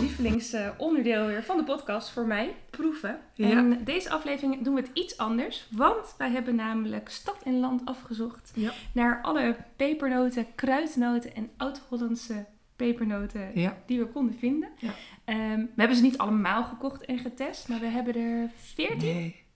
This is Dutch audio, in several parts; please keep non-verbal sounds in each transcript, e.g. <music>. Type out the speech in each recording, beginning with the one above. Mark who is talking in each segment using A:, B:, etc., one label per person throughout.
A: lievelingsonderdeel weer van de podcast voor mij, proeven.
B: Ja.
A: En deze aflevering doen we het iets anders, want wij hebben namelijk stad en land afgezocht
B: Ja.
A: naar alle pepernoten, kruidnoten en oud-Hollandse pepernoten
B: Ja.
A: die we konden vinden.
B: Ja.
A: Ehm, we hebben ze niet allemaal gekocht en getest, maar we hebben er 14
B: Nee.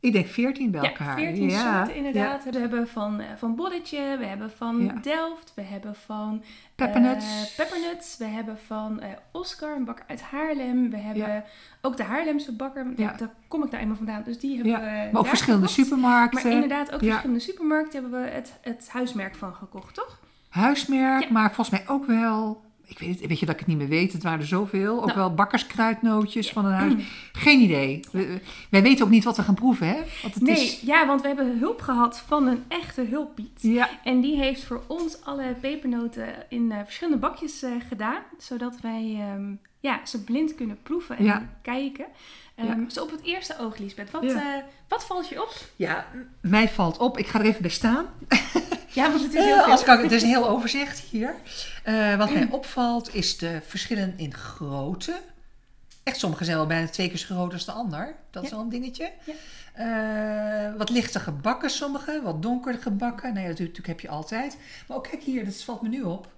B: Ik denk 14 bij
A: ja,
B: elkaar.
A: 14
B: Ja,
A: soorten inderdaad. We hebben van, eh, van Bolletje, we hebben van
B: Ja.
A: Delft, we hebben van
B: ja.
A: eh,
B: Peppernuts.
A: peppernuts. We hebben van eh, Oscar, een bakker uit Haarlem. We hebben ook de Haarlemse bakker, want
B: Ja.
A: daar kom ik nou eenmaal vandaan. Dus die hebben
B: Ja,
A: we
B: maar ook
A: daar
B: verschillende
A: gekocht.
B: supermarkten.
A: Maar inderdaad, ook
B: Ja.
A: verschillende supermarkten hebben we het, het huismerk van gekocht, toch?
B: Huismerk,
A: Ja.
B: maar volgens mij ook wel... Ik weet, het, weet je dat ik het niet meer weet? Het waren er zoveel. Ook
A: Nou.
B: wel bakkerskruidnootjes van een huis. Geen idee. We- wij weten ook niet wat we gaan proeven, hè? Want het
A: nee,
B: is...
A: ja, want we hebben hulp gehad van een echte hulppiet.
B: Ja,
A: En die heeft voor ons alle pepernoten in eh, verschillende bakjes eh, gedaan. Zodat wij ehm, ja, ze blind kunnen proeven en
B: Ja.
A: kijken. Ehm Zo op het eerste oog, Lisbeth. Wat,
B: Ja.
A: eh, wat valt je op?
B: ja, m- mij valt op. Ik ga er even bij staan.
A: Ja, want het is
B: Eh,
A: heel veel.
B: als ik ook- het is een heel overzicht hier. Eh, wat mij <clears throat> opvalt is de verschillen in grootte. Echt, sommige zijn wel bijna twee keer zo groot als de ander. Dat is
A: Ja.
B: wel een dingetje. Eh, wat lichter gebakken sommige, wat donkerder gebakken. Nee, dat doe- natuurlijk heb je altijd. Maar ook kijk hier, dat valt me nu op.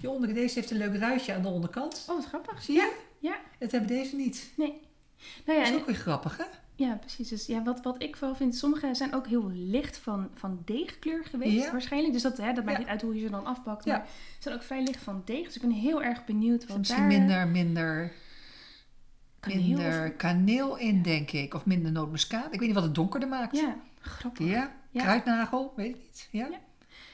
B: Die onder, deze heeft een leuk ruitje aan de onderkant.
A: Oh, wat grappig.
B: Zie je?
A: Ja.
B: Dat hebben deze niet.
A: Nee. Nou ja,
B: Dat is
A: en-
B: ook weer grappig, hè?
A: ja precies. Dus ja, wat, wat ik wel vind, sommige zijn ook heel licht van, van deegkleur geweest
B: Ja.
A: waarschijnlijk. Dus dat, hè, dat maakt
B: Ja.
A: niet uit hoe je ze dan afpakt.
B: Ja.
A: Maar ze zijn ook vrij licht van deeg. Dus ik ben heel erg benieuwd wat
B: Misschien
A: daar...
B: minder, minder,
A: kaneel of-
B: minder kaneel in, denk ik. Of minder nootmuskaat. Ik weet niet wat het donkerder maakt.
A: Ja, grappig.
B: Ja,
A: Ja.
B: kruidnagel, weet ik niet. Ja.
A: Ja.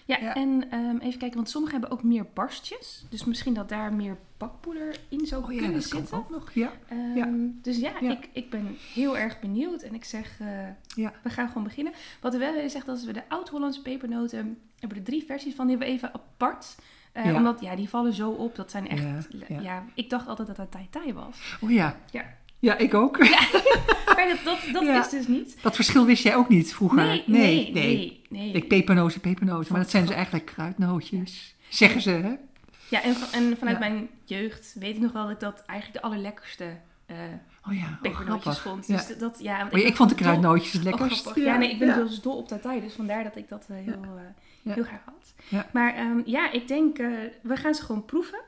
A: Ja,
B: Ja.
A: en ehm, even kijken, want sommigen hebben ook meer barstjes. Dus misschien dat daar meer bakpoeder in zou
B: Oh ja,
A: kunnen
B: dat kan
A: zitten.
B: ook nog. Ja.
A: Ehm, Dus ja,
B: Ja.
A: Ik, ik ben heel erg benieuwd. En ik zeg, eh,
B: Ja.
A: we gaan gewoon beginnen. Wat we wel willen zeggen, dat is we de Oud-Hollandse pepernoten... hebben er drie versies van, die hebben we even apart... Eh,
B: Ja.
A: Omdat, ja, die vallen zo op. Dat zijn echt...
B: Ja,
A: Ja,
B: ja.
A: ik dacht altijd dat dat tai-tai was. <laughs>
B: Oh ja.
A: Ja.
B: Ja, ik ook.
A: Maar dat, dat, dat
B: Ja.
A: is dus niet.
B: <laughs> Dat verschil wist jij ook niet vroeger.
A: Nee, nee, nee. nee,
B: Ik pepernoten, pepernoten. Maar dat zijn dus eigenlijk kruidnootjes. Zeggen ze, hè?
A: Ja, en, van- en vanuit
B: Ja.
A: mijn jeugd weet ik nog wel dat ik dat eigenlijk de allerlekkerste... eh,
B: Oh ja, oh,
A: pepernootjes
B: grappig.
A: vond.
B: Ja.
A: Dus dat- dat, ja, want
B: Maar ik,
A: ben
B: vond de
A: dol-
B: kruidnootjes het
A: Oh,
B: lekkerst.
A: grappig. ja, nee, ik ben
B: ja.
A: dus dol op tartij, dus vandaar dat ik dat eh, heel, eh,
B: Ja.
A: heel graag had.
B: Ja.
A: Maar ehm, ja, ik denk, eh, we gaan ze gewoon proeven.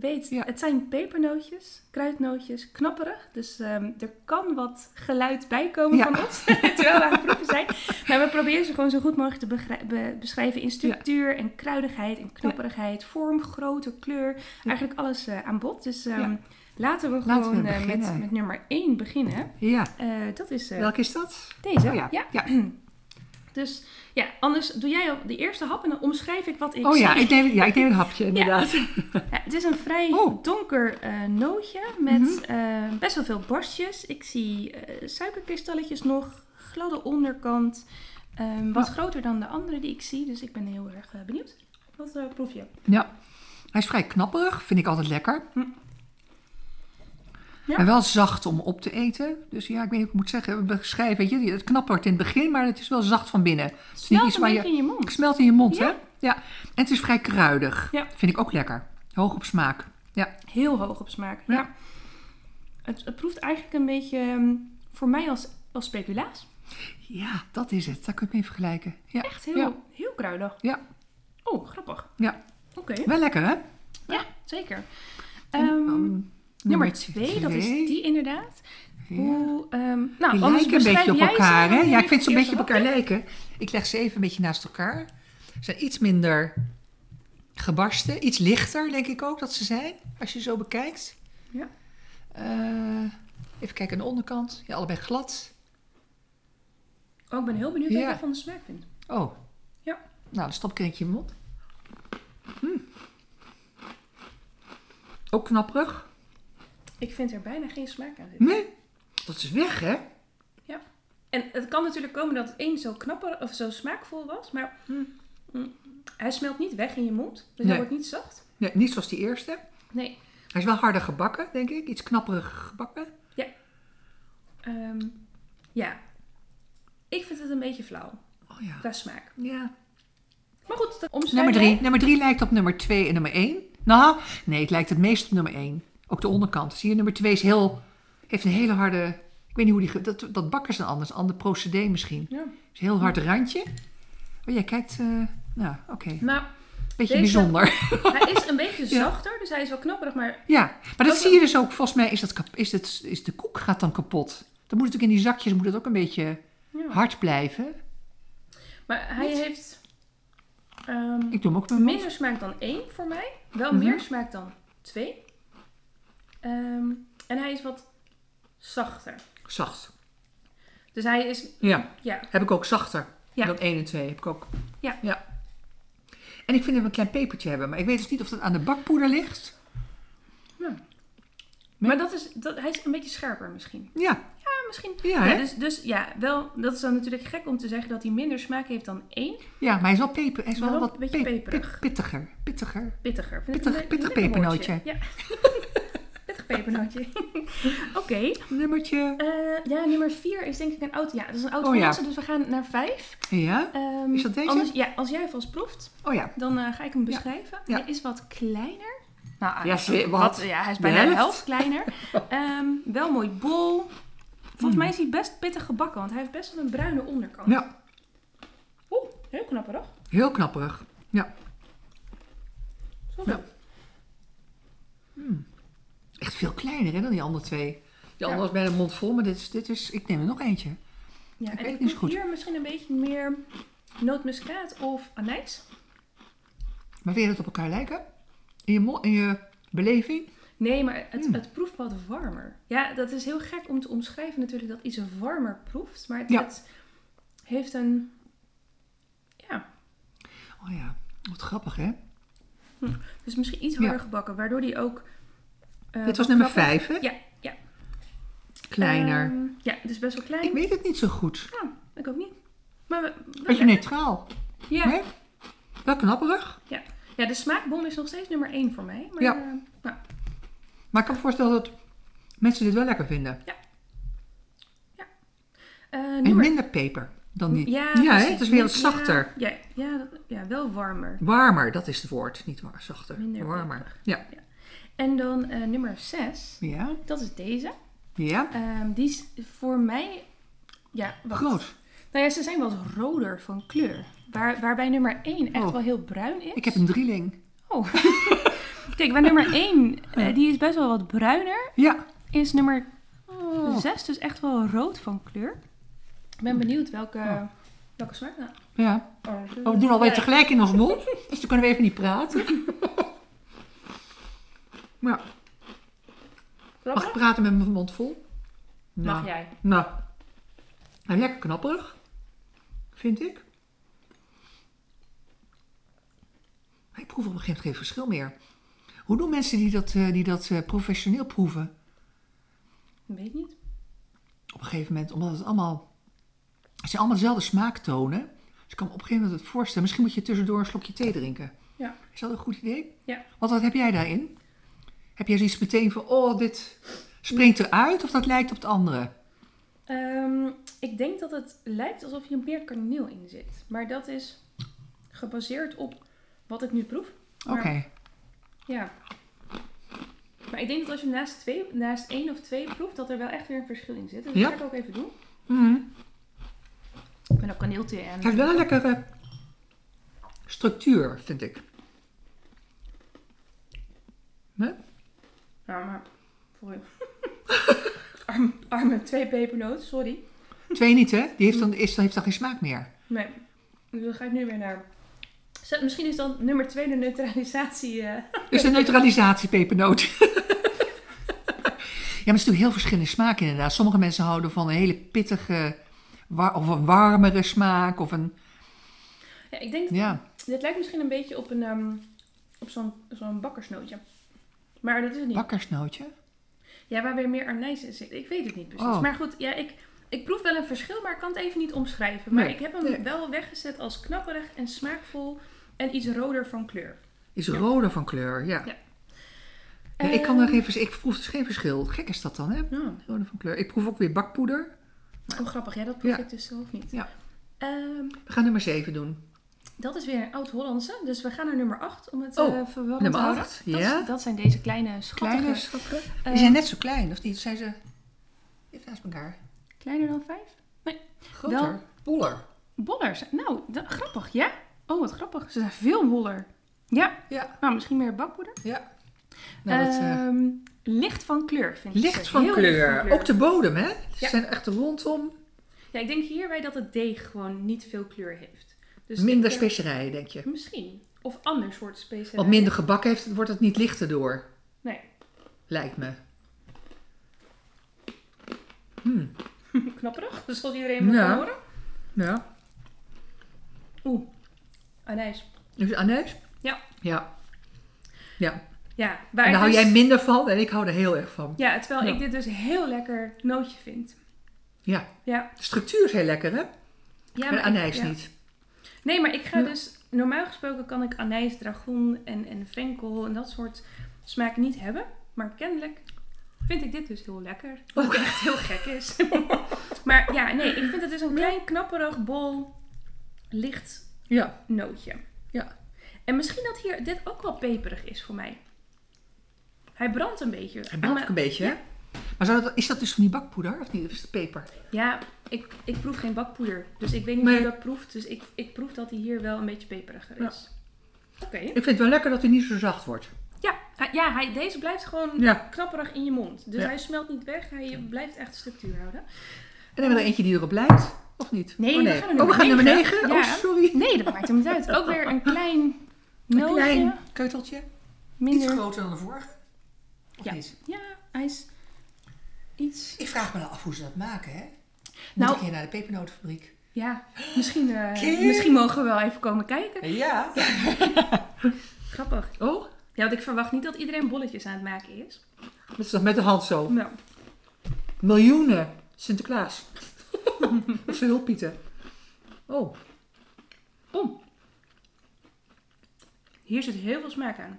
A: Weet,
B: Ja.
A: het zijn pepernootjes, kruidnootjes, knapperig. Dus ehm, er kan wat geluid bij komen
B: Ja.
A: van ons, <laughs> terwijl we aan het proeven zijn. Maar we proberen ze gewoon zo goed mogelijk te begrij- be- beschrijven in structuur en kruidigheid en knapperigheid. Vorm, grootte, kleur, eigenlijk alles eh, aan bod. Dus ehm,
B: Ja.
A: laten we
B: Laten we
A: gewoon eh, met,
B: beginnen.
A: met nummer 1 beginnen.
B: Ja.
A: Eh, dat is eh,
B: Welke is dat?
A: deze.
B: Oh ja.
A: ja.
B: ja.
A: Dus ja, anders doe jij al de eerste hap en dan omschrijf ik wat ik
B: Oh ja,
A: zie.
B: ik neem, ja, ik neem een hapje inderdaad.
A: Ja, het is een vrij
B: Oh. Mhm.
A: donker eh, nootje met eh, best wel veel borstjes. Ik zie eh, suikerkristalletjes nog, gladde onderkant. ehm, wat
B: Nou.
A: groter dan de andere die ik zie, dus ik ben heel erg eh, benieuwd. Wat eh, proef je?
B: Ja, hij is vrij knapperig, vind ik altijd lekker.
A: Hm. Ja.
B: En wel zacht om op te eten. Dus ja, ik weet niet hoe ik het moet zeggen, beschrijven. Weet je, het knappert in het begin, maar het is wel zacht van binnen. Het is niet
A: Smelt
B: iets
A: een
B: waar
A: beetje
B: je
A: in je mond.
B: smelt in je mond,
A: Ja.
B: hè? Ja. En het is vrij kruidig.
A: Ja.
B: Vind ik ook lekker. Hoog op smaak. Ja.
A: Heel hoog op smaak. Ja.
B: Ja.
A: Het, het proeft eigenlijk een beetje ehm, voor mij als, als speculaas.
B: Ja, dat is het. Daar kun je mee vergelijken. Ja.
A: Echt heel,
B: Ja.
A: heel kruidig.
B: Ja.
A: Oh, grappig.
B: Ja.
A: Oké.
B: Wel lekker, hè?
A: Ja, zeker. Ehm,
B: Um,
A: nummer twee, dat is die inderdaad. Hoe, ehm, nou,
B: Die
A: anders
B: lijken een beetje
A: beschrijf
B: op
A: jij ze,
B: elkaar,
A: dan
B: hè?
A: neem
B: Ja, ik vind ze een
A: de
B: beetje op
A: eerste
B: elkaar lijken. Ik leg ze even een beetje naast elkaar. Ze zijn iets minder gebarsten. Iets lichter, denk ik ook, dat ze zijn. Als je zo bekijkt.
A: Ja.
B: Eh, even kijken aan de onderkant. Ja, allebei glad.
A: hap. Oh, ik ben heel benieuwd wat
B: Ja.
A: jij van de smaak vindt.
B: Oh.
A: Ja.
B: Nou, dan stop ik er eentje in mijn mond. Hm. Ook knapperig.
A: Ik vind er bijna geen smaak aan zitten.
B: Nee. Dat is weg, hè?
A: En het kan natuurlijk komen dat het één zo knapper of zo smaakvol was, maar
B: Hmm.
A: mm, hij smelt niet weg in je mond. Dus hij
B: Nee.
A: wordt niet zacht.
B: Nee, niet zoals die eerste.
A: Nee.
B: Hij is wel harder gebakken, denk ik. Iets knapperig gebakken.
A: Ehm, ja. Ik vind het een beetje flauw
B: Oh ja.
A: qua smaak.
B: Ja.
A: Maar goed, dat omschrijven
B: Nummer
A: wij.
B: 3. Nummer 3 lijkt op nummer 2 en nummer 1. Nou, nee, het lijkt het meest op nummer 1. Ook Ook de onderkant. Zie je, nummer 2 is heel, heeft een hele harde... Ik weet niet hoe die... ge- Dat, dat bakken zijn anders. Ander procedé misschien.
A: Ja.
B: is een heel hard randje. Oh, jij kijkt... eh, nou, oké.
A: Nou,
B: Beetje
A: Deze-
B: bijzonder. <laughs>
A: hij is een beetje
B: Ja.
A: zachter, dus hij is wel knapperig, maar
B: Ja, maar dat
A: Ook-
B: zie je dus ook. Volgens mij is, dat kap- is, het, is de koek gaat dan kapot. Dan moet natuurlijk in die zakjes moet het ook een beetje
A: Ja.
B: hard blijven.
A: Maar hij
B: Niet?
A: heeft ehm,
B: Ik doe hem ook met mijn mond.
A: minder smaak dan één voor mij. Wel
B: Mhm.
A: meer smaak dan twee. Ehm, en hij is wat zachter.
B: Zacht.
A: Dus hij is,
B: Ja,
A: ja,
B: heb ik ook zachter
A: Ja.
B: dan 1 en 2. Heb ik ook.
A: Ja.
B: ja. En ik vind dat we een klein pepertje hebben. Maar ik weet dus niet of dat aan de bakpoeder ligt.
A: maar dat is, dat, hij is een beetje scherper misschien.
B: Ja,
A: Ja, misschien.
B: ja,
A: Ja,
B: hè?
A: dus, dus ja, wel, dat is dan natuurlijk gek om te zeggen dat hij minder smaak heeft dan één.
B: ja, maar hij is wel, peper, hij is wel,
A: Wel
B: wat
A: een beetje
B: pe-
A: peperig.
B: pit- pittiger. Pittiger.
A: Pittiger. Vind ik
B: Pittig-
A: een le-
B: pittig
A: lekker woordje.
B: pepernootje.
A: Ja. <laughs> pittig
B: <laughs>
A: pepernootje. Oké.
B: Nummertje.
A: eh, ja, nummer vier is denk ik een oud. Ja, dat is een oud
B: Oh ja.
A: volwassen, dus we gaan naar vijf.
B: Ja.
A: Ehm,
B: Is dat deze?
A: Anders, ja, als jij vast proeft,
B: Oh ja.
A: dan eh, ga ik hem beschrijven.
B: Ja.
A: Hij is wat kleiner. Nou, hij
B: Ja,
A: is-
B: ze- wat?
A: ja, hij is
B: De
A: bijna de helft,
B: helft? <laughs>
A: kleiner. Ehm, wel mooi bol. Volgens mij is hij best pittig gebakken, want hij heeft best wel een bruine onderkant.
B: Hmm. Ja,
A: Oeh, heel knapperig.
B: Nou, heel knapperig. Ja.
A: Zo.
B: Ja. Echt veel kleiner hè, dan die andere twee. Die andere
A: Ja.
B: was bijna mond vol, maar dit is, dit is... Ik neem er nog eentje.
A: Ja,
B: Ik
A: en
B: weet
A: ik
B: niet
A: proef
B: zo goed.
A: hier misschien een beetje meer nootmuskaat of anijs.
B: Maar weer dat op elkaar lijken? In je, mo- in je beleving?
A: Nee, maar het,
B: Hmm.
A: het proeft wat warmer. Ja, dat is heel gek om te omschrijven natuurlijk dat iets warmer proeft. Maar het,
B: Ja.
A: het heeft een... Ja,
B: Oh ja, wat grappig hè?
A: dus misschien iets
B: Ja.
A: harder gebakken. Waardoor die ook... eh,
B: dit was
A: wat
B: nummer
A: knapper-
B: 5 hè?
A: Ja, ja.
B: Kleiner.
A: Ehm, ja, dus best wel klein.
B: ik weet het niet zo goed.
A: Ja, ik ook niet. Maar we, we-
B: Beetje neutraal.
A: ja.
B: Nee? Wel knapperig.
A: Ja. ja, de smaakbom is nog steeds nummer 1 voor mij. Maar,
B: Ja.
A: eh, nou,
B: Maar ik kan me voorstellen dat mensen dit wel lekker vinden.
A: eh,
B: En
A: nummer
B: minder peper dan die.
A: Ja,
B: hè?
A: precies.
B: het is weer wat
A: Ja,
B: zachter.
A: Ja, ja, dat- ja, wel warmer.
B: Warmer, dat is het woord. Niet waar, zachter.
A: Minder
B: Warmer.
A: peperig.
B: Ja.
A: En dan eh, nummer 6,
B: Ja.
A: dat is deze.
B: Ja.
A: Ehm, die is voor mij. Ja, wacht.
B: Groot.
A: Nou ja, ze zijn wat roder van kleur. Waar, waarbij nummer 1 echt
B: Oh.
A: wel heel bruin is.
B: Ik heb een drieling.
A: Oh. Kijk, bij nummer 1,
B: <laughs>
A: die is best wel wat bruiner.
B: Ja.
A: Is nummer
B: Oh.
A: 6 dus echt wel rood van kleur. Ik ben benieuwd welke,
B: Oh.
A: welke smaak. Nou,
B: Ja.
A: oh,
B: Oh, we doen alweer
A: ja,
B: tegelijk in ons mond. Dus dan kunnen we even niet praten.
A: <laughs>
B: Maar ja, mag ik
A: knapperig?
B: praten met mijn mond vol?
A: Mag
B: Nou,
A: jij?
B: Nou, en lekker knapperig, vind ik. Maar ik proef op een gegeven moment geen verschil meer. Hoe doen mensen die dat, eh, die dat eh, professioneel proeven
A: Weet niet.
B: op een gegeven moment? Omdat het allemaal, het zijn allemaal dezelfde smaaktonen. Dus ik kan me op een gegeven moment het voorstellen. Misschien moet je tussendoor een slokje thee drinken.
A: Ja.
B: Is dat een goed idee?
A: Ja.
B: Want wat heb jij daarin? Heb jij zoiets meteen van, oh, dit springt eruit of dat lijkt op het andere?
A: Ehm, ik denk dat het lijkt alsof hier meer kaneel in zit. Maar dat is gebaseerd op wat ik nu proef.
B: Oké.
A: Maar- Ja. Maar ik denk dat als je naast, twee, naast één of twee proeft, dat er wel echt weer een verschil in zit. Dus
B: Ja.
A: dat ga ik ook even doen.
B: Mhm.
A: Ik ben ook kaneelthee en...
B: Het heeft wel een lekkere structuur, vind ik. Hè?
A: Ja, Nou, maar... Sorry. <laughs> arme, arme twee pepernoten, sorry.
B: Twee niet, hè? Die heeft dan, is, heeft dan geen smaak meer.
A: Nee. Dus dan ga ik nu weer naar... Zet- Misschien is dan nummer twee de neutralisatie... eh,
B: Dus de neutralisatie pepernoot. <laughs> ja, maar het is natuurlijk heel verschillende smaak inderdaad. Sommige mensen houden van een hele pittige, war- of een warmere smaak. Of een,
A: Ja, ik denk dat
B: ja.
A: Dit lijkt misschien een beetje op, een, ehm, op zo'n, zo'n bakkersnootje. Maar dat is het niet.
B: Bakkersnootje.
A: ja, waar weer meer arnijs in zit. Ik weet het niet precies.
B: Oh.
A: Maar goed, ja, ik, ik proef wel een verschil, maar ik kan het even niet omschrijven. Maar
B: Nee,
A: ik heb hem
B: nee.
A: wel weggezet als knapperig en smaakvol en iets roder van kleur.
B: Is roder van kleur, ja.
A: Ja.
B: Ja, ik, kan er
A: Ehm,
B: geen, vers- ik proef dus geen verschil. Gek is dat dan, hè?
A: nou,
B: Roder van kleur. Ik proef ook weer bakpoeder.
A: hoe grappig. Ja, dat proef
B: Ja.
A: ik dus zelf niet.
B: Ja.
A: Ehm,
B: We gaan nummer 7 doen.
A: Dat is weer een oud-Hollandse. Dus we gaan naar nummer 8 om het
B: Oh,
A: eh, verwarrend
B: nummer
A: te houden.
B: acht,
A: Dat,
B: ja.
A: dat zijn deze kleine schattige...
B: Kleine schappen.
A: eh,
B: Die zijn net zo klein, of niet? Zijn ze even naast elkaar?
A: Kleiner dan 5? Nee.
B: Groter?
A: Wel-
B: Boller.
A: Bollers. Nou, dat- grappig, ja? Oh, wat grappig. Ze zijn veel boller. Ja,
B: Ja,
A: nou misschien meer bakpoeder.
B: ja. Nou, dat, eh,
A: Ehm, licht van kleur vind ik.
B: licht
A: ze.
B: van
A: Heel
B: kleur. Ook de bodem, hè? Ze
A: Ja.
B: zijn echt rondom.
A: Ja, ik denk hierbij dat het deeg gewoon niet veel kleur heeft. Dus
B: Minder
A: ik denk-
B: eh, specerijen, denk je.
A: Misschien. Of ander soort specerijen.
B: Wat minder gebak heeft, wordt het niet lichter door.
A: Nee. <laughs>
B: Lijkt me.
A: Knapperig, zoals iedereen moet
B: Ja.
A: kan horen.
B: Ja.
A: Oeh, anijs.
B: Dus anijs?
A: Ja.
B: Ja. Ja.
A: Ja,
B: En
A: waar
B: daar
A: ik
B: hou
A: dus-
B: jij minder van en ik hou er heel erg van.
A: Ja, terwijl
B: Ja.
A: ik dit dus een heel lekker nootje vind.
B: Ja.
A: Ja,
B: De structuur is heel lekker, hè?
A: ja
B: en
A: ik-
B: anijs
A: ja.
B: niet.
A: Nee, maar ik ga
B: Ja.
A: dus... Normaal gesproken kan ik anijs, dragoen en, en venkel en dat soort smaken niet hebben. Maar kennelijk vind ik dit dus heel lekker. Wat
B: Oké.
A: echt heel gek is. <laughs> maar ja, nee, ik vind het dus een klein knapperig bol licht
B: Ja.
A: nootje.
B: Ja.
A: En misschien dat hier dit ook wel peperig is voor mij. Hij brandt een beetje.
B: Het brandt ook een beetje, hè? Maar zou dat, is dat dus van die bakpoeder of niet? Of is het peper?
A: Ja, ik, ik proef geen bakpoeder. Dus ik weet niet
B: Nee.
A: hoe dat proeft. Dus ik, ik proef dat hij hier wel een beetje peperiger is. Oké.
B: Ik vind het wel lekker dat hij niet zo zacht wordt.
A: Ja, hij- ja hij, deze blijft gewoon
B: Ja.
A: knapperig in je mond. Dus
B: Ja.
A: hij smelt niet weg. Hij blijft echt structuur houden.
B: En dan hebben we er eentje die erop lijkt, of niet?
A: Nee,
B: Oh,
A: we gaan naar
B: Oh, we gaan
A: nummer
B: nummer
A: negen.
B: 9?
A: Ja.
B: Oh, sorry.
A: Nee, dat maakt hem niet uit. Ook weer een klein
B: Een
A: nootje.
B: klein keuteltje. Iets
A: minder.
B: groter dan de vorige. Of
A: Ja.
B: niet?
A: Ja, hij is iets...
B: Ik vraag me nou af hoe ze dat maken, hè? Moet
A: Nou-
B: ik hier naar de pepernotenfabriek?
A: Ja, misschien, eh,
B: Kim?
A: misschien mogen we wel even komen kijken.
B: Ja.
A: Grappig.
B: Oh,
A: Ja, want ik verwacht niet dat iedereen bolletjes aan het maken is.
B: dat is toch met de hand zo.
A: Nou,
B: Miljoenen. Sinterklaas. <laughs> of zijn hulppieten. Oh,
A: Om. Hier zit heel veel smaak aan.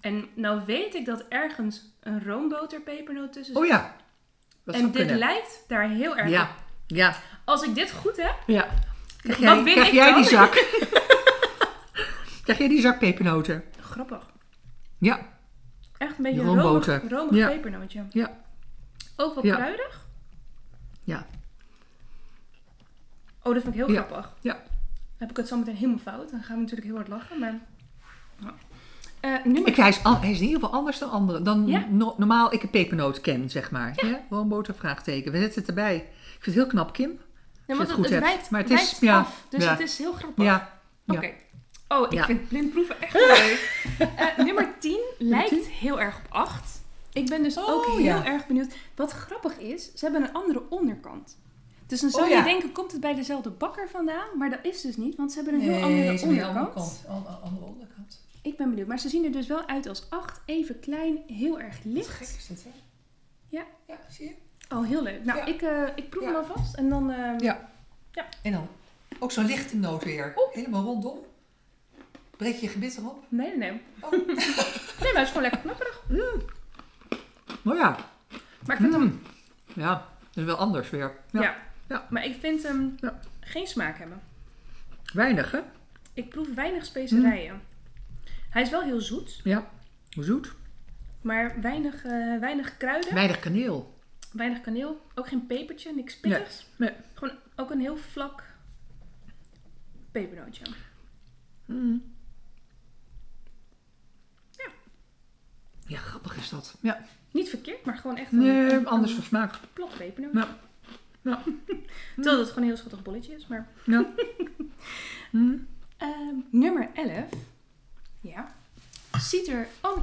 A: En nou weet ik dat ergens een roomboterpepernoot tussen zit.
B: oh ja. Dat
A: en
B: zou
A: dit
B: kunnen.
A: lijkt daar heel erg
B: Ja, ja,
A: op. Als ik dit goed heb,
B: ja. Krijg
A: Wat
B: jij,
A: win
B: krijg
A: ik
B: jij
A: dan?
B: die
A: <laughs>
B: zak? krijg jij die zak pepernoten?
A: grappig.
B: Ja,
A: Echt een beetje
B: Die
A: een romig,
B: roomboter.
A: romig
B: Ja.
A: pepernootje.
B: ja,
A: Ook wat
B: Ja.
A: kruidig.
B: ja,
A: Oh, dat vind ik heel
B: Ja.
A: grappig.
B: ja.
A: Heb ik het zo meteen helemaal fout. Dan gaan we natuurlijk heel hard lachen. Maar... Ja. Eh, nummer...
B: Ik, hij, is, al- hij is in ieder geval anders dan anderen. Dan
A: Ja.
B: no- normaal ik een pepernoot ken, zeg maar. Ja. Gewoon botervraagteken. We zetten het erbij. Ik vind het heel knap, Kim.
A: Nee,
B: je
A: want
B: het
A: het,
B: goed
A: het
B: hebt.
A: wijkt,
B: Maar het
A: wijkt
B: is- ja.
A: af. Dus
B: Ja.
A: het is heel grappig.
B: Ja.
A: Oké.
B: Ja.
A: Oh, ik
B: Ja.
A: vind blindproeven
B: <laughs>
A: echt leuk. Eh, nummer 10 lijkt heel erg op 8. Ik ben dus
B: Oh,
A: ook heel
B: ja.
A: erg benieuwd. Wat grappig is, ze hebben een andere onderkant. Dus dan zou
B: Oh,
A: je
B: ja.
A: denken, komt het bij dezelfde bakker vandaan? Maar dat is dus niet, want ze hebben een heel andere onderkant.
B: Andere onderkant.
A: Ik ben benieuwd. Maar ze zien er dus wel uit als 8. Even klein, heel erg licht.
B: is dit, hè?
A: Ja.
B: Ja, zie je?
A: Oh, heel leuk. Nou,
B: Ja.
A: ik, eh, ik proef
B: Ja.
A: hem alvast. En dan... eh,
B: Ja.
A: Ja.
B: En dan ook zo'n lichte noot weer.
A: Oeh.
B: Helemaal rondom. Breek je gebit erop.
A: Nee, nee, <laughs> nee.
B: Oh.
A: Nee, maar het is gewoon lekker knapperig.
B: Nou Mm. ja.
A: Maar ik vind hem
B: Ja, dat is wel anders weer.
A: Ja.
B: Ja.
A: Maar ik vind hem
B: Ja.
A: geen smaak hebben.
B: Weinig, hè?
A: Ik proef
B: Hm.
A: weinig specerijen. Hij is wel heel zoet,
B: Ja. Hoe zoet?
A: maar weinig, eh, weinig kruiden,
B: Weinig kaneel.
A: weinig kaneel, ook geen pepertje, niks pittigs.
B: Nee.
A: Gewoon ook een heel vlak pepernootje.
B: Ja, grappig is dat. Ja.
A: Niet verkeerd, maar gewoon echt een,
B: Nee,
A: een-
B: anders
A: een
B: van smaak.
A: plat pepernootje.
B: Ja.
A: <laughs>
B: Ja. Hmm.
A: Terwijl het gewoon een heel schattig bolletje is. Maar
B: Ja.
A: <laughs>
B: Hmm.
A: Ehm, nummer 11, ja, ziet er... Oh,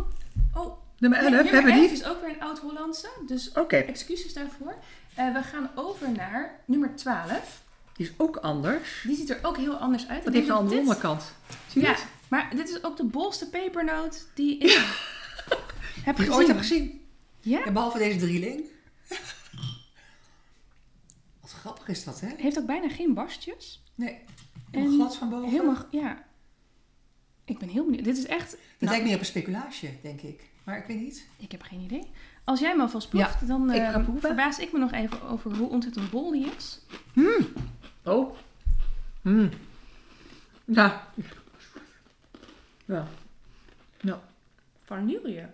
A: oh
B: Nummer
A: nee,
B: 11,
A: nummer
B: hebben we
A: 11
B: die?
A: is ook weer een oud-Hollandse, dus
B: Oké.
A: Excuses daarvoor. Eh, we gaan over naar nummer 12.
B: Die is ook anders.
A: Die ziet er ook heel anders uit.
B: Dat
A: Ik
B: heeft
A: denk
B: een andere
A: dit-
B: onderkant. Zie je
A: Ja,
B: dat?
A: maar dit is ook de bolste pepernoot die ik <laughs> heb
B: Die ik
A: gezien.
B: ooit heb gezien.
A: Ja,
B: En behalve deze drieling. <laughs> Wat grappig is dat, hè?
A: heeft ook bijna geen barstjes.
B: Nee.
A: En
B: Helemaal glad van boven.
A: Helemaal, ja. Ik ben heel benieuwd. Dit is echt...
B: Dat
A: nou,
B: lijkt meer op een speculaasje, denk ik. Maar ik weet niet.
A: ik heb geen idee. Als jij hem alvast proeft, dan
B: ik
A: eh,
B: ga proeven.
A: verbaas ik me nog even over
B: Hmm.
A: hoe ontzettend bol die is.
B: Oh. Nou. Ja.
A: Vanille.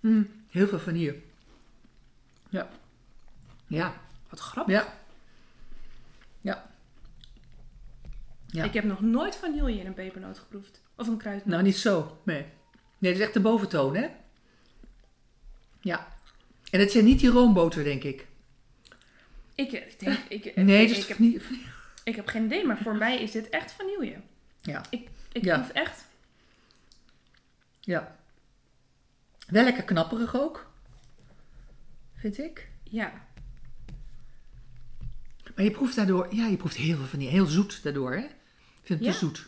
B: Mm, heel veel vanille. Ja. Ja.
A: Wat grappig.
B: Ja. Ja. Ja.
A: Ik heb nog nooit vanille in een pepernoot geproefd. Of een kruidnoot.
B: Nou, niet zo. Nee. Nee, dat is echt de boventoon, hè? Ja. En het zijn niet die roomboter, denk ik.
A: Ik, eh, ik denk, ik,
B: Nee,
A: ik,
B: dat is
A: ik, heb,
B: niet...
A: ik heb geen idee, maar voor mij is dit echt vanille.
B: Ja.
A: Ik, ik
B: Ja.
A: proef echt...
B: Ja. Wel lekker knapperig ook. Vind ik.
A: Ja.
B: Maar je proeft daardoor... Ja, je proeft heel veel vanille. Heel zoet daardoor, hè? Ik vind het
A: Ja.
B: te zoet.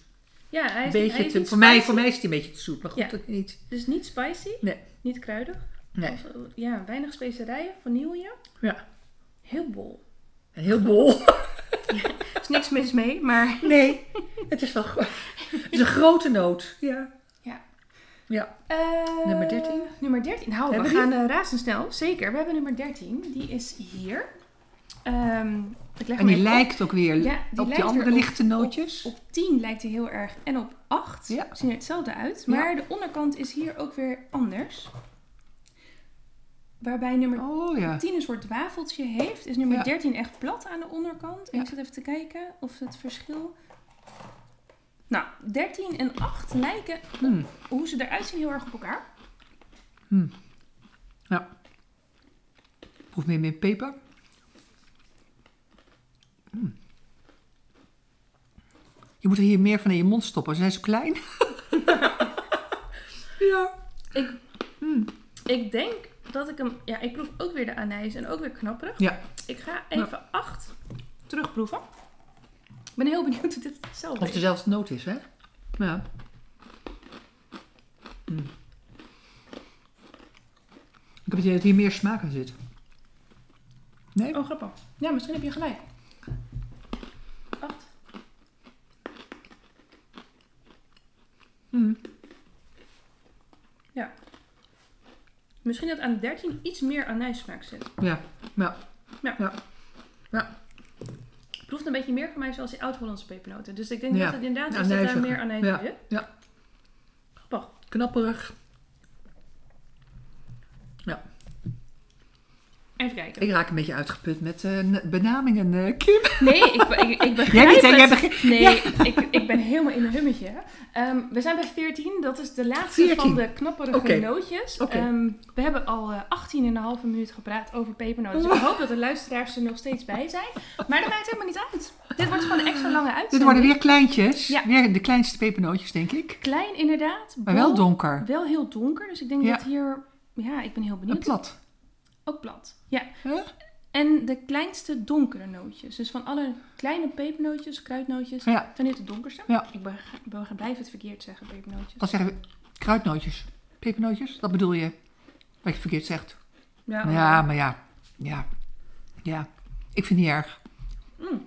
A: Ja, hij
B: Een
A: is,
B: beetje
A: hij is
B: te,
A: niet
B: voor, mij,
A: spicy.
B: voor mij is het een beetje te zoet. Maar goed,
A: Ja.
B: dat niet...
A: Dus niet spicy.
B: Nee.
A: Niet kruidig.
B: Nee.
A: Of, eh, ja, weinig specerijen. Vanille.
B: Ja.
A: Heel bol.
B: Een heel bol. <laughs>
A: Er is niks mis mee, maar...
B: Nee. Het is wel...
A: <laughs>
B: gro- Het is een grote noot. Ja.
A: Ja.
B: Ja.
A: Eh,
B: Nummer 13?
A: Nummer 13. Nou,
B: Hebben
A: we
B: we
A: gaan eh, razendsnel. Zeker. We hebben nummer 13. Die is hier. Ehm, ik leg
B: En
A: hem
B: die
A: even op.
B: lijkt ook weer
A: Ja, die
B: op
A: lijkt
B: die andere
A: weer op-
B: lichte nootjes.
A: Op 10 lijkt hij heel erg. En op 8
B: Ja.
A: zien er hetzelfde uit.
B: Ja.
A: Maar de onderkant is hier ook weer anders. Waarbij nummer
B: Oh ja.
A: 10 een soort wafeltje heeft, is nummer
B: Ja.
A: 13 echt plat aan de onderkant. En
B: Ja.
A: ik zit even te kijken of het verschil. Nou, 13 en 8 lijken
B: Hmm.
A: hoe ze eruit zien heel erg op elkaar.
B: Ja. Proef meer meer peper. Mm. Je moet er hier meer van in je mond stoppen. Ze zijn zo
A: <laughs>
B: klein. ja.
A: Ik denk dat ik hem. Ja, ik proef ook weer de anijs en ook weer knapperig.
B: Ja.
A: Ik ga even 8 terugproeven. Ik ben heel benieuwd of dit hetzelfde
B: Of het
A: is.
B: dezelfde noot is, hè? Ja. Mm. Ik heb het idee dat hier meer smaak aan zit. Nee?
A: Oh, grappig. Ja, misschien heb je gelijk. 8.
B: Mm.
A: Hmm. Ja. Misschien dat aan 13 iets meer anijssmaak zit.
B: Ja. Ja.
A: Ja.
B: Ja. ja.
A: Het proeft een beetje meer voor mij zoals die oud-Hollandse pepernoten. Dus ik denk
B: Ja.
A: dat het inderdaad is dat daar
B: Anijziger.
A: meer anijs
B: Ja.
A: in zit.
B: Ja.
A: Grappig.
B: Knapperig.
A: Even kijken.
B: Ik raak een beetje uitgeput met eh, n- benamingen, eh, Kim.
A: Nee, ik, be- ik, ik begrijp
B: Jij niet, hè?
A: het.
B: Jij begrijpt-
A: Nee, ik, ik ben helemaal in een hummetje. Ehm, we zijn bij 14. Dat is de laatste
B: 14.
A: van de knapperige
B: Oké.
A: nootjes.
B: Oké.
A: Ehm, we hebben al eh, 18,5 minuten gepraat over pepernoten.
B: Oh.
A: Dus ik hoop dat de luisteraars er nog steeds bij zijn. Maar dat maakt helemaal niet uit. Dit wordt gewoon een extra lange uitzending.
B: Dit worden weer kleintjes.
A: Ja.
B: Weer de kleinste pepernootjes, denk ik.
A: Klein inderdaad.
B: Maar wel
A: bol,
B: donker.
A: Wel heel donker. Dus ik denk
B: Ja.
A: dat hier... Ja, ik ben heel
B: En
A: benieuwd.
B: plat.
A: Ook plat. Ja,
B: Huh?
A: En de kleinste donkere nootjes. Dus van alle kleine pepernootjes, kruidnootjes,
B: Ja.
A: zijn dit de donkerste.
B: Ja.
A: Ik ben, ben- blijf het verkeerd zeggen, pepernootjes.
B: Dan zeggen we kruidnootjes. Pepernootjes, dat bedoel je. Wat je verkeerd zegt.
A: Oh, Ja.
B: Ja, maar ja. Ja. Ja. Ik vind het niet erg.
A: mm.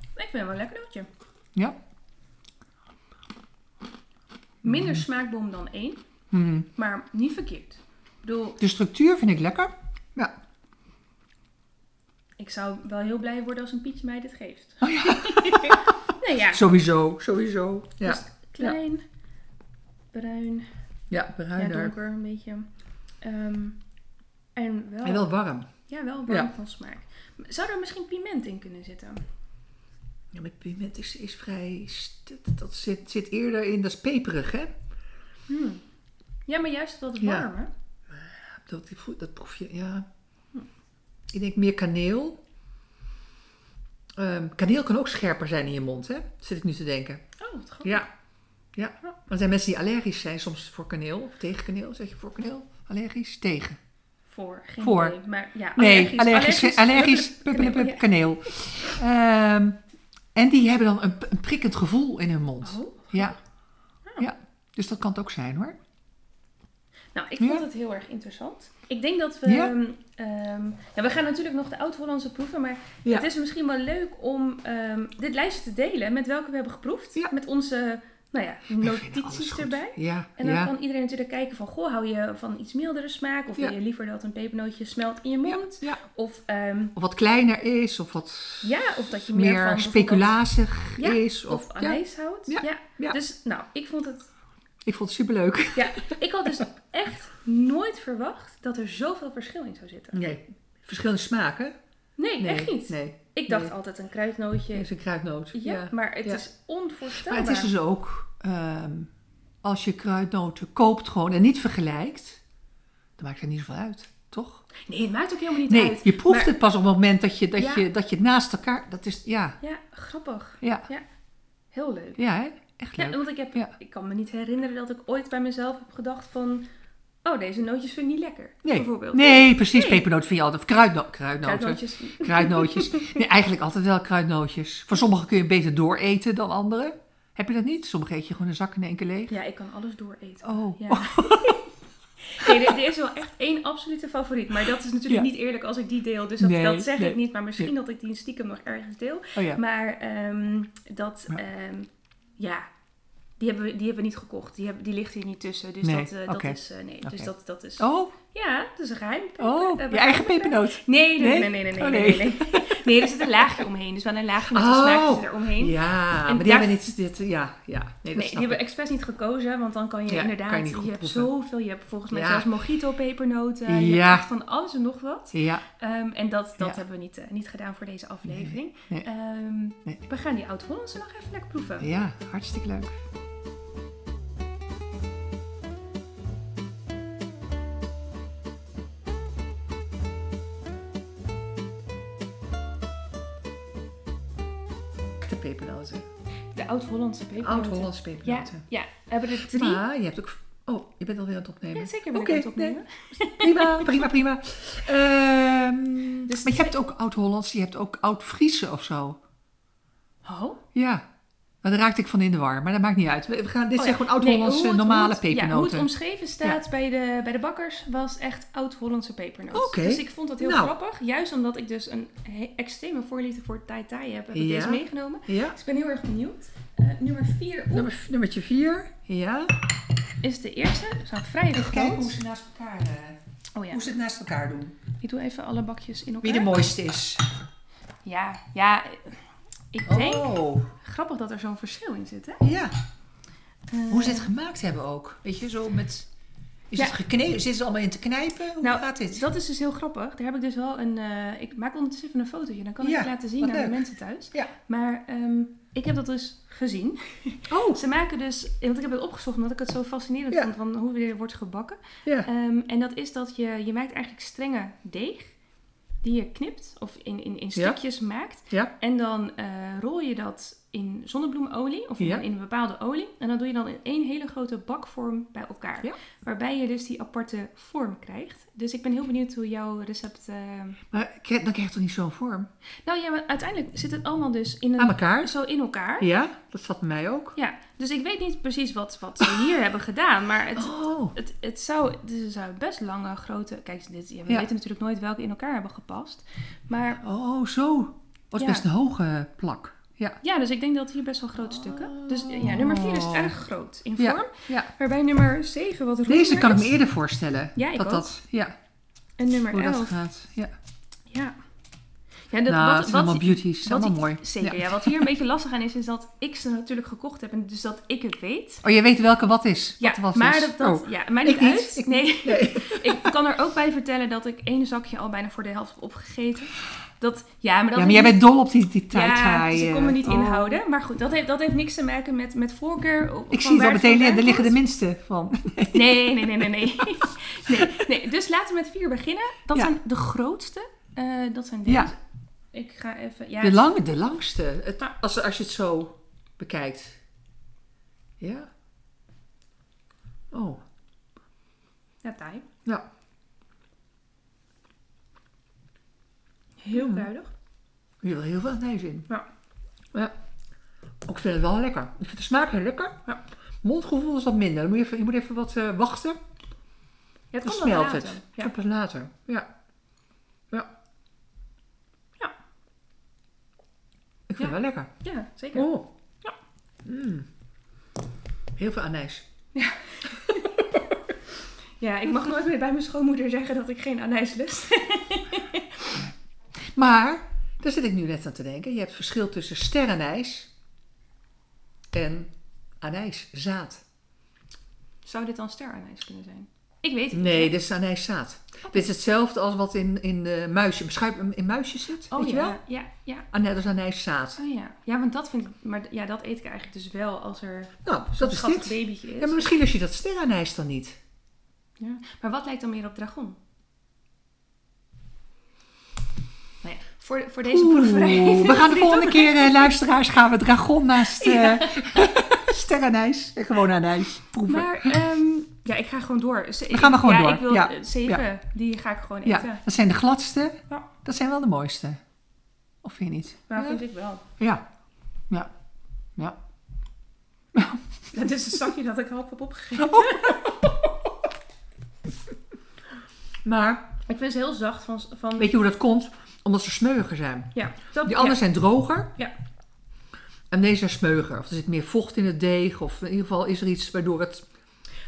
A: Ik vind het wel een lekker nootje.
B: Ja?
A: Minder smaakbom dan één,
B: Hmm.
A: maar niet verkeerd. Ik bedoel,
B: De structuur vind ik lekker. Ja.
A: ik zou wel heel blij worden als een Pietje mij dit geeft. Oh ja. <laughs> nee, ja.
B: Sowieso. Sowieso. Ja.
A: Dus klein, bruin,
B: ja,
A: ja,
B: bruiner.
A: donker een beetje. Ehm, en wel,
B: en wel warm.
A: ja, wel warm
B: Ja.
A: van smaak. Zou er misschien piment in kunnen zitten?
B: Ja, maar piment is, is vrij... st- Dat zit, zit eerder in... Dat is peperig, hè?
A: Hmm. Ja, maar juist dat het
B: Ja.
A: warm, hè?
B: Dat, dat proef je, ja. Ik denk meer kaneel. Ehm, kaneel kan ook scherper zijn in je mond, hè? Zit ik nu te denken.
A: Oh, wat grappig.
B: Ja. Ja. Want er zijn mensen die allergisch zijn soms voor kaneel. Of tegen kaneel. Zeg je voor kaneel? Allergisch? Tegen.
A: Voor, geen
B: Voor.
A: idee, Maar ja,
B: Nee, allergisch.
A: allergisch.
B: Allergisch.
A: <laughs> Hup, hup,
B: pup, pup, kaneel. Ehm, en die hebben dan een, een prikkend gevoel in hun mond.
A: ja. Oh.
B: Ja. ja. Dus dat kan het ook zijn, hoor.
A: Nou, ik vond
B: Ja.
A: het heel erg interessant. Ik denk dat we...
B: Ja.
A: ehm, ehm, ja, we gaan natuurlijk nog de Oud-Hollandse proeven, maar
B: Ja.
A: het is misschien wel leuk om ehm, dit lijstje te delen met welke we hebben geproefd.
B: Ja.
A: Met onze nou ja, notities erbij.
B: Ja,
A: En dan
B: ja.
A: kan iedereen natuurlijk kijken van, goh, hou je van iets mildere smaak? Of
B: Ja.
A: wil je liever dat een pepernootje smelt in je
B: Ja,
A: mond?
B: ja.
A: Of, ehm,
B: Of wat kleiner is, of wat
A: ja, of dat je meer,
B: meer
A: van Ja,
B: speculazig is.
A: bijvoorbeeld-
B: Of,
A: Of ah,
B: ja,
A: anijs houdt.
B: Ja, ja.
A: Dus nou, ik vond het
B: ik vond het superleuk.
A: Ja, ik had dus echt nooit verwacht dat er zoveel verschil in zou zitten.
B: Nee, verschillende smaken.
A: Nee,
B: Nee,
A: echt niet.
B: Nee,
A: Ik dacht
B: Nee.
A: altijd een kruidnootje.
B: het is een kruidnoot.
A: ja, maar het
B: ja.
A: is onvoorstelbaar.
B: Maar het is dus ook, ehm, als je kruidnoten koopt gewoon en niet vergelijkt, dan maakt het niet zoveel uit, toch?
A: dus- Nee, het maakt ook helemaal niet
B: Nee,
A: uit.
B: je proeft
A: Maar-
B: het pas op het moment dat je, dat,
A: Ja.
B: je, dat je het naast elkaar, dat is, ja,
A: Ja, grappig.
B: ja,
A: Heel leuk.
B: ja, hè? echt
A: Ja,
B: leuk.
A: want ik, heb,
B: Ja.
A: ik kan me niet herinneren dat ik ooit bij mezelf heb gedacht van... Oh, deze nootjes vind ik niet lekker.
B: Nee,
A: Bijvoorbeeld.
B: nee precies,
A: Nee.
B: pepernoten vind je altijd, of kruidno- kruidnoten.
A: Kruidnootjes.
B: Kruidnootjes. Nee, eigenlijk altijd wel kruidnootjes. Voor sommige kun je beter dooreten dan andere. Heb je dat niet? Sommige eet je gewoon een zak in één keer leeg.
A: Ja, ik kan alles dooreten.
B: Oh,
A: Ja. <laughs> Nee, er, er is wel echt één absolute favoriet. Maar dat is natuurlijk
B: Ja.
A: niet eerlijk als ik die deel. Dus dat,
B: Nee,
A: dat zeg
B: nee.
A: ik niet. Maar misschien dat ik die stiekem nog ergens deel.
B: oh ja.
A: Maar ehm, dat,
B: Ja.
A: ja, ja die, hebben we, die hebben we niet gekocht. Die, hebben, die ligt hier niet tussen. Dus
B: Nee,
A: dat, eh,
B: oké.
A: dat is. eh, nee,
B: Oké.
A: dus dat, dat is.
B: Oh,
A: Ja, dat is een geheim.
B: oh,
A: Eh,
B: je eigen pepernoot.
A: Nee, nee,
B: Nee?
A: nee, nee, nee, nee,
B: Oh,
A: nee. nee, Nee, er zit een laagje omheen. Dus wel een laagje
B: <laughs>
A: met een
B: Oh.
A: smaakje eromheen.
B: Ja,
A: En
B: maar die
A: daar-
B: hebben niet dit, ja, ja. Nee, dat
A: Nee, die
B: snap
A: hebben we
B: ik.
A: expres niet gekozen, want dan kan je
B: Ja,
A: inderdaad,
B: kan je niet goed
A: je hebt
B: proeven.
A: zoveel, je hebt volgens mij
B: Ja.
A: zelfs mojito-pepernoten, je
B: Ja.
A: hebt echt van alles en nog wat.
B: Ja,
A: Ehm, en dat, dat
B: Ja.
A: hebben we niet, eh, niet gedaan voor deze aflevering.
B: Nee,
A: Ehm,
B: Nee.
A: We gaan die Oud-Hollandse nog even lekker proeven.
B: ja, hartstikke leuk. De pepernoten.
A: De Oud-Hollandse pepernoten.
B: Oud-Hollandse
A: Ja,
B: pepernoten.
A: ja, we hebben er drie.
B: Maar je hebt ook... Oh, je bent alweer aan het opnemen.
A: Ja, zeker ben
B: Oké,
A: ik aan het opnemen.
B: <laughs> Prima, prima, prima. Ehm,
A: <laughs> Dus-
B: maar je hebt ook Oud-Hollandse, je hebt ook Oud-Friese of zo.
A: Oh,
B: Ja, maar daar raakte ik van in de war. Maar dat maakt niet uit. We we gaan, dit
A: Oh ja.
B: zijn gewoon Oud-Hollandse
A: Nee, hoe het- hoe
B: normale
A: het- Ja, hoe het
B: pepernoten.
A: omschreven staat bij, de, bij de bakkers was echt oud-Hollandse pepernoot.
B: Oké.
A: Dus ik vond dat heel
B: Nou.
A: grappig. Juist omdat ik dus een he- extreme voorliefde voor Thai Thai heb, heb ik
B: Ja.
A: deze meegenomen.
B: ja.
A: Dus ik ben heel erg benieuwd. Eh, nummer 4
B: Nummer, nummertje vier. Ja.
A: is de eerste. Zo'n vrij groot.
B: ze naast elkaar, eh,
A: Oh ja,
B: ze het naast elkaar doen.
A: ik doe even alle bakjes in
B: Wie de
A: elkaar.
B: mooiste is.
A: Ja, ja. Ik denk,
B: Oh.
A: grappig dat er zo'n verschil in zit, hè?
B: Ja.
A: Eh,
B: Hoe ze het gemaakt hebben ook. Weet je, zo met... Is
A: Ja.
B: het geknepen? Zitten ze allemaal in te knijpen? Hoe
A: Nou,
B: gaat dit?
A: Dat is dus heel grappig. Daar heb ik dus wel een. eh, ik maak ondertussen even een fotootje. Dan kan ik
B: Ja,
A: het laten zien
B: wat
A: aan de
B: leuk.
A: mensen thuis.
B: Ja.
A: Maar ehm, ik heb dat dus gezien.
B: Oh.
A: Ze maken dus. Want ik heb het opgezocht omdat ik het zo fascinerend
B: Ja.
A: vond van hoe weer wordt gebakken.
B: Ja.
A: Ehm, en dat is dat je. Je maakt eigenlijk strengen deeg. Die je knipt of in, in, in
B: Ja.
A: stukjes maakt.
B: Ja.
A: En dan eh, rol je dat in zonnebloemolie of
B: Ja.
A: in een bepaalde olie. En dat doe je dan in één hele grote bakvorm bij elkaar.
B: Ja.
A: Waarbij je dus die aparte vorm krijgt. Dus ik ben heel benieuwd hoe jouw recept... eh,
B: Maar krijg- dan krijg je toch niet zo'n vorm?
A: Nou ja, maar uiteindelijk zit het allemaal dus in
B: Aan
A: een...
B: elkaar?
A: zo in elkaar.
B: Ja, dat zat bij mij ook.
A: Ja, dus ik weet niet precies wat, wat ze
B: <laughs>
A: hier hebben gedaan. Maar het,
B: Oh.
A: het, het zou, dus het zou best lange, grote... Kijk, dit, ja, we
B: Ja.
A: weten natuurlijk nooit welke in elkaar hebben gepast. Maar
B: Oh, zo. Oh, het is
A: Ja.
B: best een hoge plak. Ja.
A: ja, dus ik denk dat hier best wel grote stukken. Dus ja, nummer 4 is
B: Oh.
A: erg groot in vorm.
B: Ja. ja.
A: Waarbij nummer 7 wat roer
B: Deze kan ik
A: is.
B: me eerder voorstellen.
A: Ja, ik
B: dat
A: ook.
B: dat, ja,
A: En nummer
B: hoe dat
A: 11.
B: gaat. Ja.
A: Ja. Ja, dat,
B: nou, het
A: wat,
B: zijn
A: wat,
B: allemaal beauties. Het is
A: wat
B: allemaal
A: ik-
B: mooi.
A: Zeker,
B: Ja.
A: ja. Wat hier een beetje lastig aan is, is dat ik ze natuurlijk gekocht heb. En dus dat ik het weet.
B: Oh, je weet welke wat is.
A: Ja,
B: wat wat
A: maar
B: is.
A: dat, dat
B: Oh.
A: ja, mij
B: Ik
A: niet
B: niet,
A: uit.
B: ik
A: nee, <laughs>
B: Nee.
A: ik kan er ook bij vertellen dat ik één zakje al bijna voor de helft heb opgegeten. Dat, ja, maar dat
B: ja, maar
A: is
B: jij
A: niet-
B: bent dol op die, die taai
A: ja,
B: taai,
A: dus ik kon
B: eh,
A: me niet
B: oh.
A: inhouden. Maar goed, dat heeft, dat heeft niks te maken met, met voorkeur. of-
B: Ik
A: van
B: zie het
A: waar
B: al meteen,
A: vandaan
B: ja, er liggen de
A: komt.
B: minste van.
A: Nee, nee, nee, nee, nee. <laughs> nee, nee. Dus laten we met vier beginnen. Dat
B: Ja.
A: zijn de grootste. Eh, dat zijn deze.
B: Ja.
A: Ik ga even... Ja,
B: De, lange, de langste, het, als, als je het zo bekijkt. Ja. Oh,
A: ja taai.
B: ja.
A: Heel
B: Mm.
A: kruidig.
B: Er zit wel heel veel anijs in.
A: Ja.
B: ja. Ook, ik vind het wel lekker. Ik vind de smaak heel lekker.
A: Ja.
B: Mondgevoel is wat minder. Dan moet je, even, je moet even wat eh, wachten.
A: Ja, het
B: Dan
A: komt
B: smelt
A: wel
B: het.
A: later.
B: Ja.
A: Ja.
B: Pas later. Ja. Ja.
A: Ja.
B: Ik vind het wel lekker.
A: ja, zeker.
B: Oh.
A: Ja.
B: Mm. Heel veel anijs.
A: Ja, ik mag nooit meer bij mijn schoonmoeder zeggen dat ik geen anijs lust.
B: Maar, daar zit ik nu net aan te denken. Je hebt verschil tussen sterrenijs en anijszaad.
A: Zou dit dan steranijs kunnen zijn? Ik weet het
B: Nee,
A: niet.
B: dit is anijszaad. Dit is hetzelfde als wat in, in eh, muisje, schuip, in muisjes zit.
A: Oh
B: weet
A: ja,
B: je wel?
A: ja, ja.
B: Ah, nee, dat is anijszaad.
A: Oh ja. Ja, want dat vind ik... Maar d- ja, dat eet ik eigenlijk dus wel als er
B: Nou,
A: zo'n
B: dat is
A: schattig
B: dit.
A: babytje is.
B: Ja, maar misschien lust je dat sterrenijs dan niet.
A: Ja. Maar wat lijkt dan meer op dragon? Nou ja, voor, voor deze
B: Oeh,
A: proeverij...
B: we
A: <laughs>
B: gaan de volgende keer, eh, luisteraars, gaan we dragon naast eh <laughs> sterrenijs en gewoon anijs proeven.
A: Maar ehm, ja, ik ga gewoon door. Dus ik-
B: gaan maar gewoon
A: ja,
B: door.
A: Ik wil
B: Ja.
A: eh, zeven, die ga ik gewoon eten.
B: ja, dat zijn de gladste.
A: Ja.
B: Dat zijn wel de mooiste. Of vind je niet?
A: Maar
B: ja.
A: vind ik wel.
B: ja. Ja. Ja.
A: Dat is een zakje dat ik half heb opgegeven.
B: <laughs> Maar
A: Ik vind ze heel zacht van... van
B: weet je hoe dat komt? Omdat ze smeuiger zijn.
A: ja, dat,
B: Die anderen zijn droger.
A: Ja.
B: En deze zijn smeuiger. Of er zit meer vocht in het deeg. Of in ieder geval is er iets waardoor het...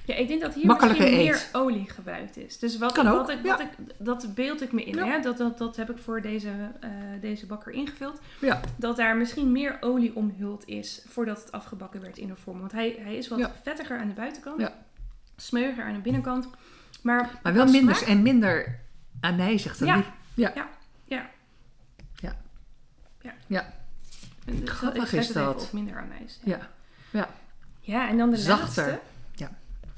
A: Ja, ik denk dat hier
B: Makkelijker
A: misschien meer
B: eet.
A: olie gebruikt is. Dus wat,
B: Kan ook,
A: wat ik, wat ik, dat beeld ik me in.
B: Ja.
A: Hè? Dat, dat, dat heb ik voor deze, eh, deze bakker ingevuld.
B: Ja.
A: Dat daar misschien meer olie omhuld is voordat het afgebakken werd in de vorm. Want hij, hij is wat
B: Ja.
A: vettiger aan de buitenkant.
B: Ja.
A: Smeuiger aan de binnenkant. Maar,
B: Maar wel
A: qua
B: minder,
A: smaak-
B: en minder anijzig dan
A: Ja.
B: die.
A: Dus dat-
B: Grappig
A: ik zet
B: is
A: het even
B: dat.
A: Op minder anijs. Ja.
B: Ja.
A: ja, en dan de
B: Zachter.
A: laatste.
B: Ja.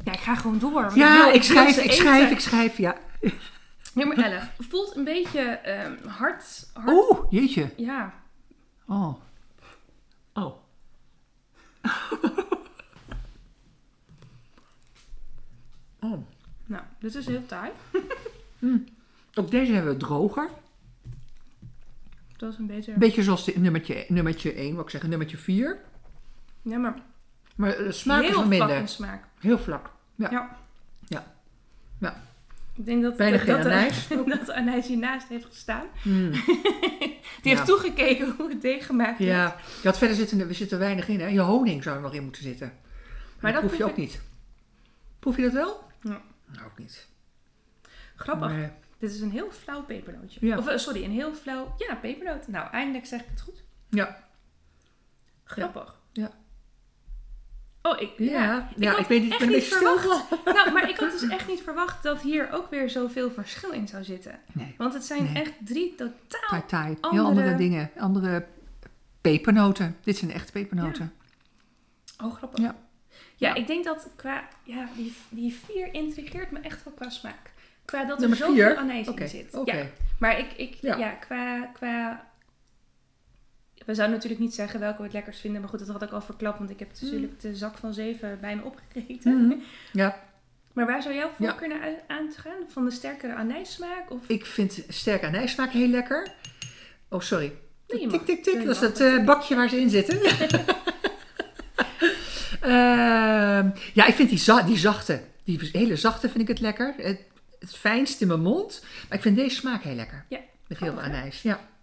A: ja, ik ga gewoon door. want ik
B: Ja,
A: wil-
B: ik
A: wil
B: schrijf,
A: ze
B: ik schrijf,
A: eten.
B: ik schrijf. Ja.
A: Nummer 11. Voelt een beetje ehm, hard. hard
B: Oeh, jeetje.
A: Ja,
B: Oh. Oh. <laughs> oh.
A: nou, dit is heel taai.
B: Ook deze hebben we droger.
A: Dat is een beetje...
B: Een beetje zoals de nummertje, nummertje 1, wat ik zeggen, nummertje 4.
A: Ja, maar
B: Maar de smaak is
A: heel
B: wat
A: vlak
B: minder.
A: in smaak.
B: Heel vlak. Ja.
A: Ja.
B: Ja. Ja.
A: Ik denk dat,
B: Bijna
A: dat,
B: geen
A: dat, de-
B: anijs.
A: <laughs> dat de anijs hiernaast heeft gestaan. <laughs>
B: Mm.
A: Die
B: Ja.
A: heeft toegekeken hoe het deeg gemaakt is.
B: ja. Ja, verder zitten er, er zit er weinig in. Hè? Je honing zou er nog in moeten zitten. Maar,
A: Maar
B: dat
A: dat
B: proef je
A: proef
B: ook niet. Proef je dat wel?
A: Ja.
B: Nou, ook niet.
A: Grappig.
B: Maar,
A: Dit is een heel flauw pepernootje.
B: Ja.
A: Of eh, sorry, een heel flauw... Ja, pepernoot. Nou, eindelijk zeg ik het goed.
B: ja.
A: Grappig.
B: Ja.
A: Oh, ik...
B: Ja. Ja, ik,
A: had
B: weet niet.
A: echt
B: Ik ben een
A: niet
B: beetje stil.
A: verwacht. Nou, maar ik had
B: <laughs>
A: dus echt niet verwacht dat hier ook weer zoveel verschil in zou zitten.
B: Nee.
A: Want het zijn
B: Nee.
A: echt drie totaal...
B: Thai thai.
A: Andere-
B: Heel andere dingen. Andere pepernoten. Dit zijn echt pepernoten.
A: Oh, grappig.
B: Ja.
A: Ja, ik denk dat qua... Ja, die, die vier intrigeert me echt wel qua smaak. Qua dat
B: Nummer
A: er zoveel
B: vier?
A: anijs
B: Oké,
A: in zit.
B: oké.
A: Ja, maar ik... ik
B: Ja.
A: ja. qua... qua we zouden natuurlijk niet zeggen welke we het lekkerst vinden. Maar goed, dat had ik al verklapt. Want ik heb natuurlijk de zak van zeven bijna opgegeten.
B: Mm. Mhm. Ja,
A: <laughs> Maar waar zou jouw voorkeur naar uit- aan te gaan? Van de sterkere anijssmaak? Of...
B: ik vind sterke anijssmaak heel lekker. Oh, sorry.
A: Nee, je mag.
B: tik, tik, tik.
A: Nee, je
B: dat is
A: mag.
B: dat eh, bakje waar ze in zitten. <laughs> Ehm, ja, ik vind die, za- die zachte, die hele zachte vind ik het lekker. Het, het fijnst in mijn mond. Maar ik vind deze smaak heel lekker.
A: Ja.
B: Met heel veel
A: Grappig,
B: anijs. Ja.